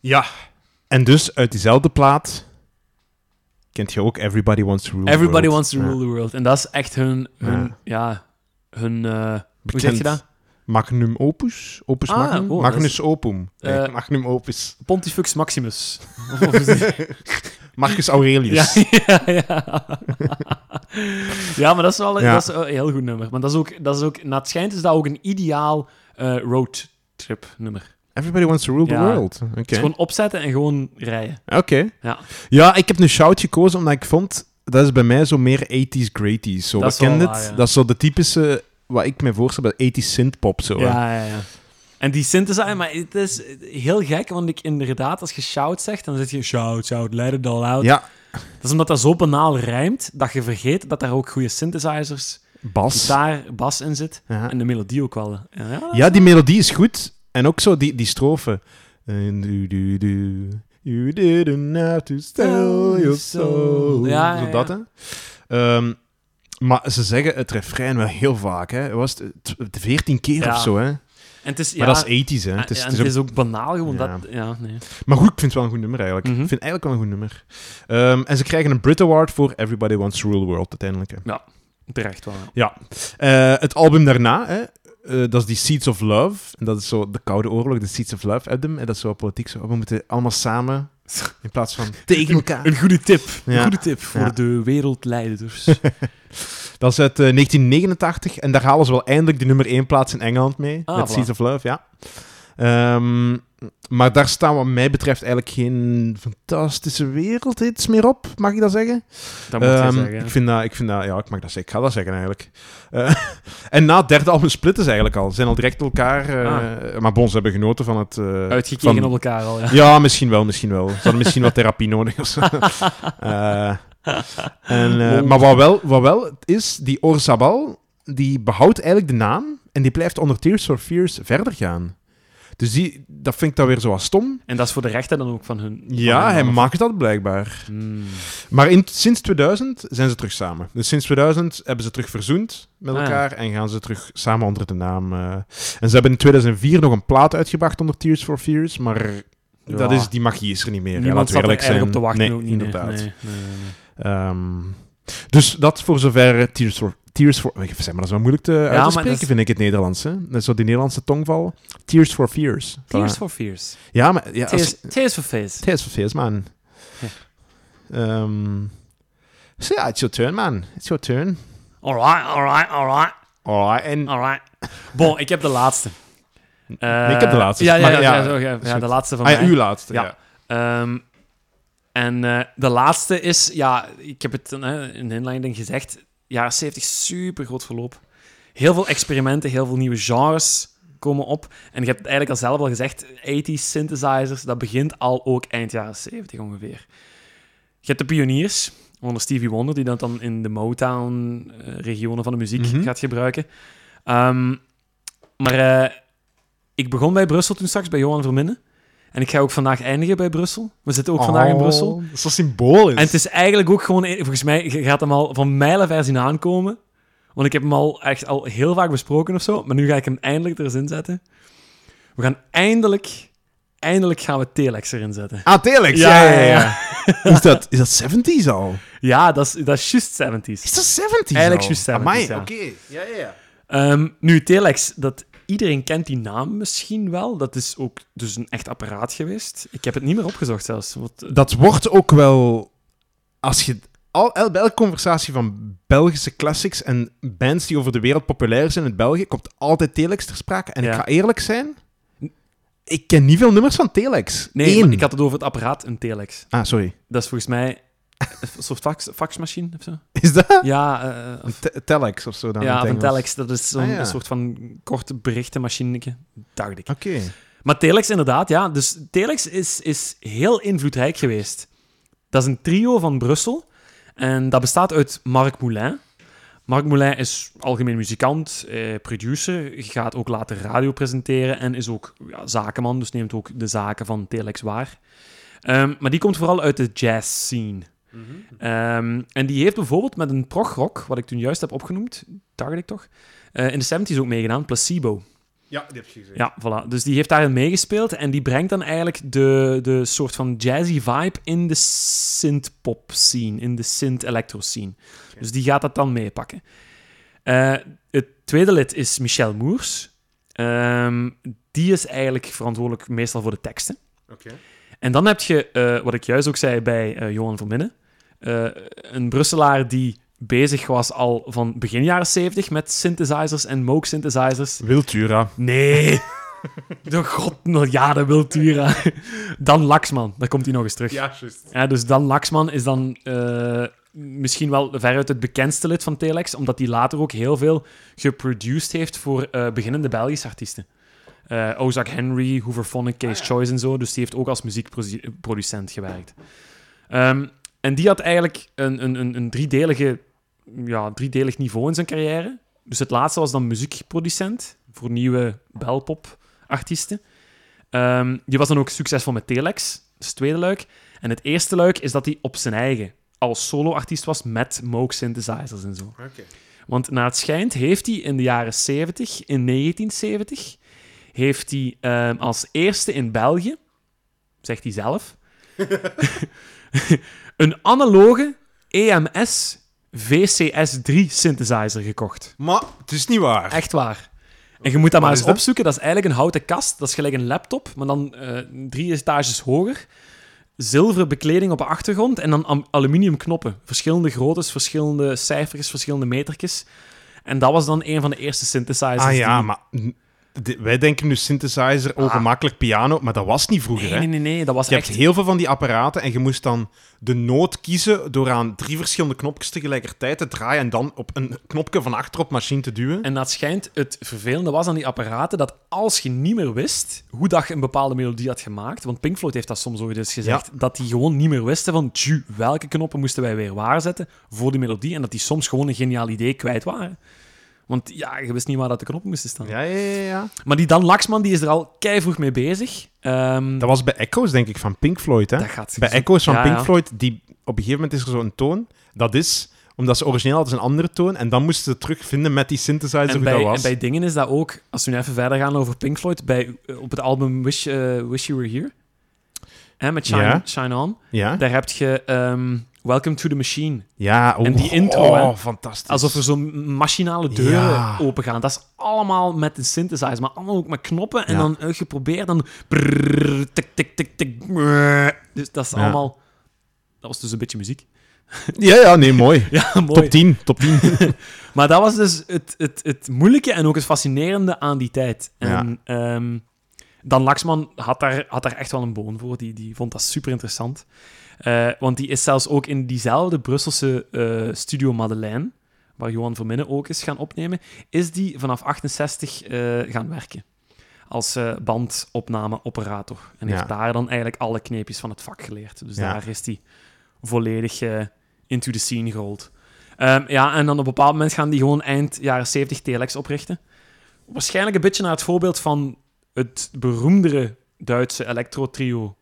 Ja. En dus uit diezelfde plaat kent je ook Everybody Wants to Rule the Everybody World. wants to Ja. rule the world. En dat is echt hun... hun Ja. ja. hun... eh, hoe Bekend zeg je dat? Magnum opus? Opus Ah, magnum? oh, Magnus dat is- opum. Nee, Eh, magnum opus. Pontifex Maximus. Of- of- Marcus Aurelius. Ja, ja, ja. ja, maar dat is wel Ja. dat is een heel goed nummer. Maar dat is ook, dat is ook, na het schijnt is dat ook een ideaal eh roadtrip nummer. Everybody Wants to Rule the Ja. World. Oké. Dus gewoon opzetten en gewoon rijden. Oké. Ja. Ja, ik heb nu Shout gekozen omdat ik vond... Dat is bij mij zo meer 80s, greaties. Zo, Dat we is wel kennen waar, het. ja. Dat is zo de typische... Wat ik me voorstel, dat 80s synthpop zo. hè. Ja, ja, ja. En die synthesizer, maar het is heel gek, want ik inderdaad, als je shout zegt, dan zit je shout, shout, let it all out. ja. Dat is omdat dat zo banaal rijmt, dat je vergeet dat daar ook goede synthesizers, Bas. gitaar, bas in zit. Ja. En de melodie ook wel. Ja, ja. Ja, die melodie is goed. En ook zo die, die strofe. En du- du- du. You didn't have to sell your soul. Oh, Ja, ja, zo dat, ja. hè. Ehm, maar ze zeggen het refrein wel heel vaak, hè. Was het t- 14 keer Ja. of zo, hè. Maar En het is, ja, dat is ethisch, hè. Het is, en het is ook- ook banaal gewoon. Ja. Dat, ja, nee. Maar goed, ik vind het wel een goed nummer, eigenlijk. Mhm. Ik vind het eigenlijk wel een goed nummer. Ehm, en ze krijgen een Brit Award voor Everybody Wants to Rule the World, uiteindelijk. hè. Terecht wel. ja. Eh, het album daarna, hè, eh, dat is die Seeds of Love. En dat is zo de Koude Oorlog, de Seeds of Love album. En dat is zo politiek. Zo, oh, we moeten allemaal samen, in plaats van tegen elkaar. Een goede tip. Ja. Een goede tip voor Ja. de wereldleiders. Dat is uit eh, 1989. En daar halen ze wel eindelijk de nummer 1 plaats in Engeland mee. Ah, met voilà. Seeds of Love, ja. Ehm, maar daar staan wat mij betreft eigenlijk geen fantastische wereldhits meer op. Mag ik dat zeggen? dat moet je Ehm, zeggen. Ik vind dat, ik vind dat, ja, ik mag dat zeggen. Ik ga dat zeggen eigenlijk. Eh, en na het derde album splitten ze eigenlijk al. Ze zijn al direct elkaar. eh, Maar bon, ze hebben genoten van het. eh, Uitgekeken van- Ah. op elkaar al, ja. Ja, misschien wel, misschien wel. Ze hadden misschien wat therapie nodig of zo. Eh, en, eh, Lol. maar wat wel, wat wel het is, die Orzabal, die behoudt eigenlijk de naam en die blijft onder Tears for Fears verder gaan. Dus die, dat vind ik dan weer zo wat stom. En dat is voor de rechter dan ook van hun. van Ja, hun hij mannen. maakt dat blijkbaar. Hmm. Maar in, sinds 2000 zijn ze terug samen. Dus sinds 2000 hebben ze terug verzoend met Ah, ja. elkaar en gaan ze terug samen onder de naam. eh. En ze hebben in 2004 nog een plaat uitgebracht onder Tears for Fears, maar Ja. dat is, die magie is er niet meer. hè, Niemand laten we zat eerlijk er erg zijn. op te wachten. Nee, ook niet, nee. inderdaad. Nee, nee, nee, nee. Ehm, dus dat voor zover eh, Tears for... Tears for zeg maar, dat is wel moeilijk te, uit maar te dat spreken, is- vind ik, het Nederlands. Hè? Net zo die Nederlandse tongval. Tears for Fears. Tears Voilà. for fears. Ja, maar... Ja, als- Tears, tears for fears. Tears for Fears, man. Ehm, so yeah, it's your turn, man. It's your turn. Alright, alright, alright, Alright, en... alright. Bon, ik heb de laatste. Eh, ik heb de laatste. Ja, ja, Maar ja, ja, ja, zo, ja, is ja, goed. de laatste van Ah, ja, mij. uw laatste, ja. Ja. Ehm, en eh, de laatste is, ja, ik heb het eh, in de inleiding gezegd, jaren 70 super groot verloop. Heel veel experimenten, heel veel nieuwe genres komen op. En je hebt het eigenlijk al zelf al gezegd, 80s synthesizers, dat begint al ook eind jaren 70 ongeveer. Je hebt de pioniers, onder Stevie Wonder, die dat dan in de Motown-regionen van de muziek Mhm. gaat gebruiken. Ehm, maar eh, ik begon bij Brussel toen straks, bij Johan Verminnen. En ik ga ook vandaag eindigen bij Brussel. We zitten ook vandaag in Oh, Brussel. Dat is zo symbolisch. En het is eigenlijk ook gewoon, eh, volgens mij je gaat hem al van mijlenver zien aankomen. Want ik heb hem al echt al heel vaak besproken of zo. Maar nu ga ik hem eindelijk er eens in zetten. We gaan eindelijk, eindelijk gaan we Telex erin zetten. Ah, Telex. Ja, ja, ja. Hoe is, dat, is dat 70s al? Ja, dat is, dat is just 70s. Is dat 70s Eigenlijk al? juist 70s, Amai, ja. oké. Ja, ja, ja. Ehm, nu, Telex, dat, iedereen kent die naam misschien wel. Dat is ook dus een echt apparaat geweest. Ik heb het niet meer opgezocht zelfs. Want, eh, Dat wordt ook wel... Als je... Al, el- bij elke conversatie van Belgische classics en bands die over de wereld populair zijn in België, komt altijd Telex ter sprake. En ik Ja. ga eerlijk zijn, ik ken niet veel nummers van Telex. nee, Eén. maar ik had het over het apparaat, een Telex. Ah, sorry. Dat is volgens mij een soort fax, faxmachine of zo. Is dat? Ja, eh, Een of, te- Telex of zo dan in ja het of een Engels. Telex. Dat is zo'n Ah, ja. een soort van korte berichtenmachineke, dacht ik. Oké. Maar Telex inderdaad, ja. Dus Telex is, is heel invloedrijk geweest. Dat is een trio van Brussel. En dat bestaat uit Marc Moulin. Marc Moulin is algemeen muzikant, eh, producer, gaat ook later radio presenteren en is ook ja, zakenman, dus neemt ook de zaken van Telex waar. Ehm, maar die komt vooral uit de jazz scene. Mhm. Ehm, en die heeft bijvoorbeeld met een progrock, wat ik toen juist heb opgenoemd, dacht ik toch, eh, in de 70s ook meegedaan, Placebo. Ja, die heb je gezien. Ja, voilà. Dus die heeft daarin meegespeeld en die brengt dan eigenlijk de, de soort van jazzy vibe in de synth-pop scene, in de synth-electro scene. Dus die gaat dat dan meepakken. Eh, het tweede lid is Michel Moers. Ehm, die is eigenlijk verantwoordelijk meestal voor de teksten. Oké. En dan heb je, eh, wat ik juist ook zei bij eh, Johan van Minnen, eh, een Brusselaar die bezig was al van begin jaren 70 met synthesizers en Moog synthesizers. Wiltura. Nee. De god, ja, de Wiltura. Dan Laxman, daar komt hij nog eens terug. Ja. Ja, juist. dus Dan Laxman is dan eh, misschien wel veruit het bekendste lid van Telex, omdat hij later ook heel veel geproduced heeft voor eh, beginnende Belgische artiesten. Eh Ozak Henry, Hoover Phonic, Case Choice en zo. Dus die heeft ook als muziekproducent gewerkt. Ehm, en die had eigenlijk een, een, een, een driedelige, ja, driedelig niveau in zijn carrière. Dus het laatste was dan muziekproducent voor nieuwe belpop-artiesten. Ehm, die was dan ook succesvol met Telex, dat is het tweede luik. En het eerste luik is dat hij op zijn eigen als solo-artiest was met Moog synthesizers en zo. Oké. Want naar het schijnt heeft hij in de jaren 70, in 1970, heeft hij ehm, als eerste in België, zegt hij zelf, een analoge E EMS VCS3 synthesizer gekocht. Maar het is niet waar. Echt waar. En je moet dat maar Wat is eens dat? opzoeken. Dat is eigenlijk een houten kast. Dat is gelijk een laptop, maar dan eh, drie etages hoger. Zilveren bekleding op de achtergrond en dan am- aluminium knoppen. Verschillende groottes, verschillende cijfers, verschillende metertjes. En dat was dan een van de eerste synthesizers. ah ja, die- maar n- de- wij denken nu synthesizer, ongemakkelijk piano, maar dat was niet vroeger, Ah. Nee, nee, hè? nee, nee, dat was Je echt... hebt heel veel van die apparaten en je moest dan de noot kiezen door aan drie verschillende knopjes tegelijkertijd te draaien en dan op een knopje van achter op machine te duwen. En dat schijnt, het vervelende was aan die apparaten, dat als je niet meer wist hoe dat je een bepaalde melodie had gemaakt, want Pink Floyd heeft dat soms ooit eens gezegd, dat die gewoon niet meer wisten van, tju, welke knoppen moesten wij weer waarzetten voor die melodie, en dat die soms gewoon een geniaal idee kwijt waren. Want ja, je wist niet waar dat de knoppen moesten staan. Ja, ja, ja, ja. Maar die Dan Laxman, die is er al keivroeg mee bezig. Ehm, Dat was bij Echoes, denk ik, van Pink Floyd, hè? dat gaat... Bij Echo's van Ja, Pink ja. Floyd, die, op een gegeven moment is er zo'n toon. Dat is omdat ze origineel hadden een andere toon. En dan moesten ze het terugvinden met die synthesizer en hoe bij, dat was. en bij dingen is dat ook, als we nu even verder gaan over Pink Floyd, bij, op het album Wish, eh, Wish You Were Here, hè, met Shine, Ja. Shine On, Ja, Daar heb je ehm, Welcome to the Machine. ja oh, en die intro, oh, hè. fantastisch. Alsof er zo'n machinale deuren Ja. opengaan. Dat is allemaal met een synthesizer, maar allemaal ook met knoppen. En Ja. dan eh, geprobeerd, dan... brrr, tik, tik, tik, tik. brrr. Dus dat is Ja. allemaal... Dat was dus een beetje muziek. Ja, ja, nee, mooi. Ja, mooi. Top 10, top 10. Maar dat was dus het, het, het moeilijke en ook het fascinerende aan die tijd. En ehm, Dan Laxman had daar, had daar echt wel een boon voor. Die, die vond dat super interessant. Eh, want die is zelfs ook in diezelfde Brusselse eh, studio Madeleine, waar Johan Verminnen ook is gaan opnemen, is die vanaf 68 eh, gaan werken. Als eh bandopnameoperator. En heeft Ja. daar dan eigenlijk alle kneepjes van het vak geleerd. Dus Ja. daar is hij volledig eh, into the scene gerold. Ehm, ja, en dan op een bepaald moment gaan die gewoon eind jaren 70 Telex oprichten. Waarschijnlijk een beetje naar het voorbeeld van het beroemdere Duitse electro-trio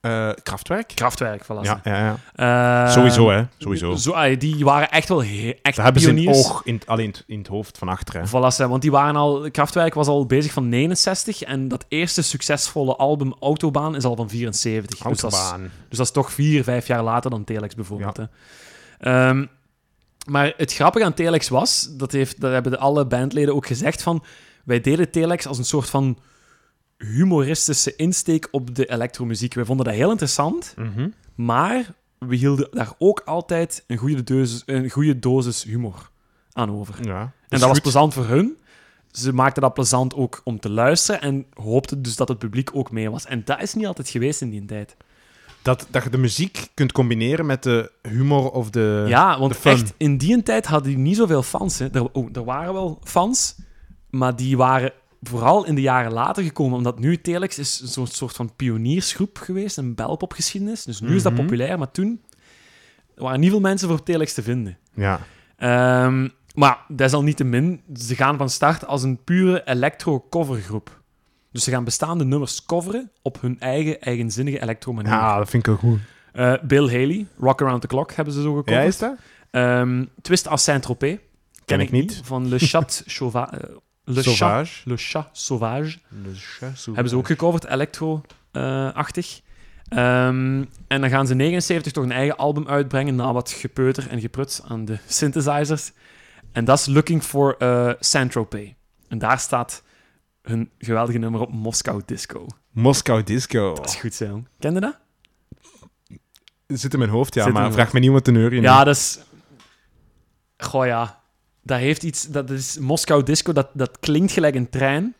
Eh, Kraftwerk? Kraftwerk. Voilà. Ja, ja, ja. Ehm, sowieso, hè. Sowieso. Zo, ah, die waren echt wel he- echt Dat hebben ze in het pioniers. oog, in, het- alleen in het- in het hoofd van achter, hè. Voilà, ze- want die waren al, Kraftwerk was al bezig van 69 en dat eerste succesvolle album Autobaan is al van 74. Dus dat is- Autobaan. Dus dat is toch vier, vijf jaar later dan Telex bijvoorbeeld. Hè? Ehm, maar het grappige aan Telex was, dat, heeft, dat hebben de alle bandleden ook gezegd, van wij deden Telex als een soort van humoristische insteek op de elektromuziek. Wij vonden dat heel interessant, Mhm. maar we hielden daar ook altijd een goede dosis, een goede dosis humor aan over. Ja. Dus En dat was plezant voor hun. Ze maakten dat plezant ook om te luisteren en hoopten dus dat het publiek ook mee was. En dat is niet altijd geweest in die tijd. dat, dat je de muziek kunt combineren met de humor of de... Ja, want eh, de fun. echt, in die tijd hadden die niet zoveel fans. Hè. Er, oh, er waren wel fans, maar die waren vooral in de jaren later gekomen. Omdat nu Telex is zo'n soort van pioniersgroep geweest in belpopgeschiedenis. Dus nu is dat Mhm. populair, maar toen waren niet veel mensen voor Telex te vinden. ja. Ehm, maar desalniettemin, ze gaan van start als een pure electro-covergroep. Dus ze gaan bestaande nummers coveren op hun eigen eigenzinnige electromanier. Ja, dat vind ik wel goed. Eh, Bill Haley, Rock Around the Clock hebben ze zo gecoverd. Ja, is dat? Ehm, Twist à Saint-Tropez. Ken ik niet. Van Le Chat Chauvin. eh, Le Chat, Sauvage. Le Chat Sauvage. Le chat sauvage. Hebben ze ook gecoverd, electro-achtig. Ehm, en dan gaan ze in 79 toch een eigen album uitbrengen na wat gepeuter en gepruts aan de synthesizers. En dat is Looking for eh Saint-Tropez. En daar staat hun geweldige nummer op Moskou Disco. Moskou Disco. Dat is goed, zo. jong. Ken je dat? Zit in mijn hoofd, ja, Zit in maar mijn vraag me niet wat de neur in Ja, dat is... Goh, ja. Dat heeft iets... Dat is Moskou Disco, dat, dat klinkt gelijk een trein.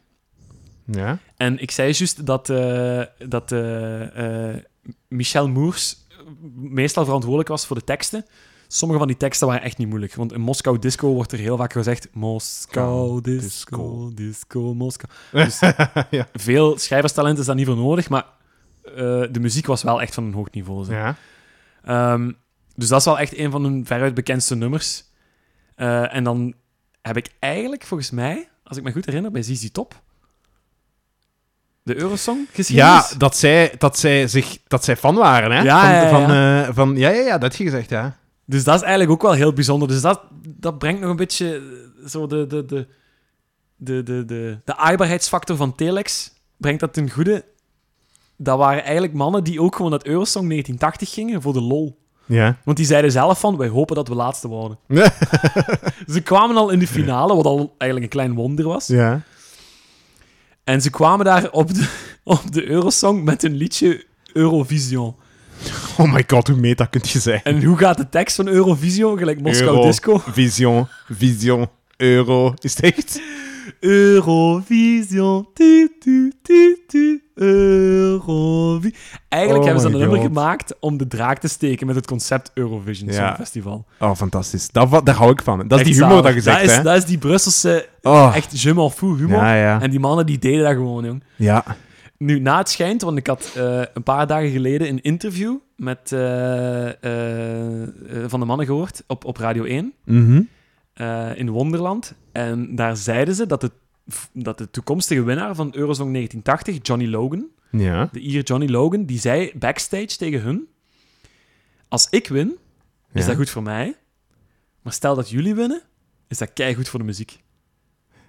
Ja? En ik zei juist dat, eh, dat eh, eh, Michel Moers meestal verantwoordelijk was voor de teksten. Sommige van die teksten waren echt niet moeilijk. Want in Moskou Disco wordt er heel vaak gezegd... Moskou Disco, Disco. Disco, Moskou. ja. Veel schrijverstalent is daar niet voor nodig, maar eh, de muziek was wel echt van een hoog niveau. zeg. ja. Ehm, dus dat is wel echt een van hun veruit bekendste nummers. Eh, en dan heb ik eigenlijk, volgens mij, als ik me goed herinner, bij ZZ Top de Eurosong geschiedenis. Ja, dat zij, dat zij, zich, dat zij fan waren, hè? Ja, van, ja, ja. Van, eh, van, ja, ja, ja, dat heb je gezegd, ja. Dus dat is eigenlijk ook wel heel bijzonder. Dus dat, dat brengt nog een beetje eh, zo de, de, de, de, de, de, de aaibaarheidsfactor van Telex, brengt dat ten goede. Dat waren eigenlijk mannen die ook gewoon dat Eurosong 1980 gingen voor de lol. Ja. Want die zeiden zelf van, wij hopen dat we laatste worden. Ze kwamen al in de finale, wat al eigenlijk een klein wonder was. ja. En ze kwamen daar op de, op de Eurosong met hun liedje Eurovision. Oh my god, hoe meta kunt je zijn? En hoe gaat de tekst van Eurovision? Gelijk Moskou Euro. Disco. Vision, vision, euro. Is het echt? Eurovision, tu, tu, tu, tu, Eurovi. Eigenlijk Oh hebben ze my een nummer God. gemaakt om de draak te steken met het concept Eurovision Song Ja. Festival. Oh, fantastisch. Dat, va- daar hou ik van. Dat is Echt die humor zalig. dat je zegt, dat is, hè? Dat is die Brusselse, Oh, echt je m'en fout humor. Ja, ja. En die mannen die deden dat gewoon, jong. ja. Nu, na het schijnt, want ik had eh, een paar dagen geleden een interview met, eh, eh, eh, van de mannen gehoord op, op Radio 1 Mhm. eh, in Wonderland. En daar zeiden ze dat de, dat de toekomstige winnaar van Eurosong 1980, Johnny Logan, Ja. de Ier Johnny Logan, die zei backstage tegen hun: Als ik win, is Ja. dat goed voor mij. Maar stel dat jullie winnen, is dat keigoed voor de muziek.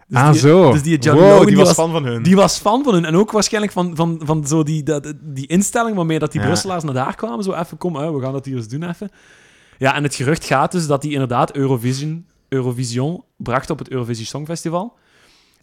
Dus ah, die- zo. Dus die Johnny wow, Logan die die was fan van hun. die was fan van hun. En ook waarschijnlijk van, van, van zo die, dat, die instelling waarmee dat die Ja. Brusselaars naar daar kwamen. Zo even, kom, hè, we gaan dat hier eens doen even. Ja, en het gerucht gaat dus dat die inderdaad Eurovision, Eurovision bracht op het Eurovisie Songfestival.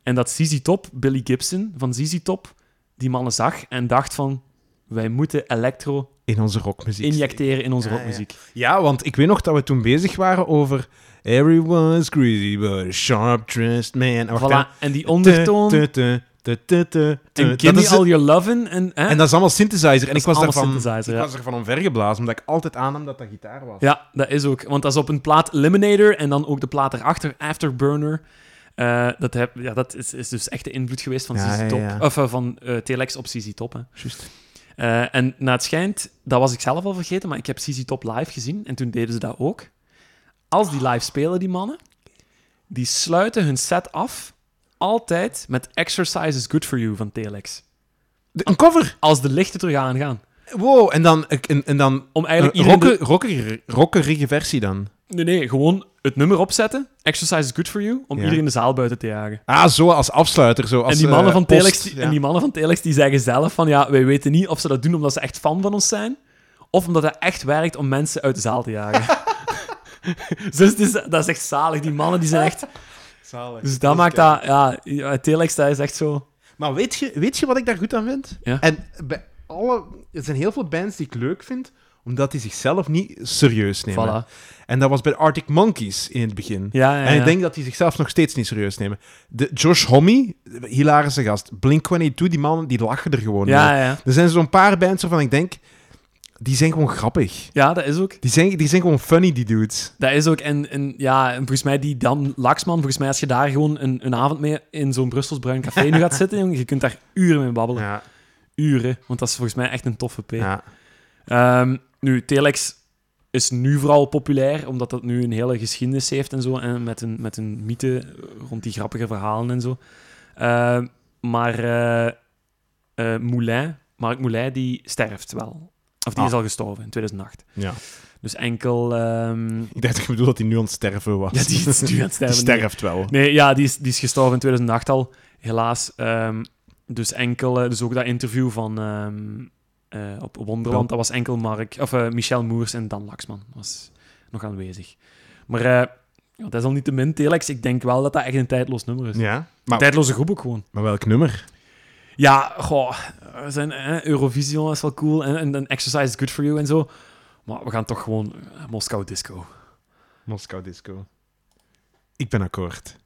En dat ZZ Top, Billy Gibson van ZZ Top, die mannen zag en dacht van... Wij moeten electro In onze rockmuziek. injecteren in onze Ja, ja. rockmuziek. Ja, want ik weet nog dat we toen bezig waren over... Everyone's greedy, but a sharp-dressed man. Ah, wacht, hè. Voilà. En die ondertoon... Tu, tu, tu, tu, tu, tu. en Dat Give is Me het- All Your Lovin'. En, hè? En dat is allemaal synthesizer. En is ik was allemaal daarvan... synthesizer, Ik ja. was ervan omvergeblazen, omdat ik altijd aannam dat dat gitaar was. Ja, dat is ook. Want dat is op een plaat Eliminator en dan ook de plaat erachter, Afterburner. Eh, dat heb, ja, dat is, is dus echt de invloed geweest van, Ja, CZ ja, Top, ja. Of, eh, van eh, Telex op CZ Top. Hè. Juist. Eh, en na het schijnt, dat was ik zelf al vergeten, maar ik heb CZ Top live gezien en toen deden ze dat ook. Als die live spelen, die mannen, die sluiten hun set af altijd met Exercise is Good for You van Telex. een cover! Als de lichten terug aangaan. Wow, en dan... En, en dan Om een eigenlijk iedereen de- rocker, rocker, rockerige versie dan. Nee, nee, gewoon het nummer opzetten. Exercise is good for you. Om Ja. iedereen de zaal buiten te jagen. Ah, zo, als afsluiter. Zo, als, en, die mannen eh, van post, Telex, die, ja. en die mannen van Telex die zeggen zelf van ja, wij weten niet of ze dat doen omdat ze echt fan van ons zijn. Of omdat het echt werkt om mensen uit de zaal te jagen. dus het is, dat is echt zalig. Die mannen die zijn echt. Zalig. Dus dat maakt dat. Ja, ja, Telex dat is echt zo. Maar weet je, weet je wat ik daar goed aan vind? Ja. En bij alle... Er zijn heel veel bands die ik leuk vind, omdat die zichzelf niet serieus nemen. Voilà. En dat was bij de Arctic Monkeys in het begin. Ja, ja, En ja. ik denk dat die zichzelf nog steeds niet serieus nemen. De Josh Homme, hilarische gast. Blink-182, die mannen, die lachen er gewoon mee. Ja, ja, ja. Er zijn zo'n paar bands waarvan ik denk, die zijn gewoon grappig. Ja, dat is ook. Die zijn, die zijn gewoon funny, die dudes. Dat is ook. En, en ja, en volgens mij die Dan Laxman, volgens mij als je daar gewoon een, een avond mee in zo'n Brussels bruin café nu gaat zitten, jongen, je kunt daar uren mee babbelen. Ja, uren. Want dat is volgens mij echt een toffe P. ja. Ehm, nu, Telex is nu vooral populair, omdat dat nu een hele geschiedenis heeft en zo. En met een, met een mythe rond die grappige verhalen en zo. Ehm, maar eh, eh, Moulin, Mark Moulin, die sterft wel. Of die Ah. is al gestorven in 2008. Ja. Dus enkel... ehm, Ik dacht, ik bedoel dat hij nu aan het sterven was. ja, die is nu aan het Die sterven. sterft wel. Nee, ja, die is, die is gestorven in 2008 al, helaas. Ehm, dus enkel, eh, dus ook dat interview van ehm, eh, op Wonderland, dat was enkel Mark, of eh, Michel Moers en Dan Laxman was nog aanwezig. Maar eh, ja, dat is al niet te min, Telex. Ik denk wel dat dat echt een tijdloos nummer is. Ja. Maar, Tijdloze groep ook gewoon. maar welk nummer? Ja, goh, er zijn, eh, Eurovision is wel cool en, en, en Exercise is good for you en zo. Maar we gaan toch gewoon eh, Moskou Disco. Moskou Disco. Ik ben akkoord.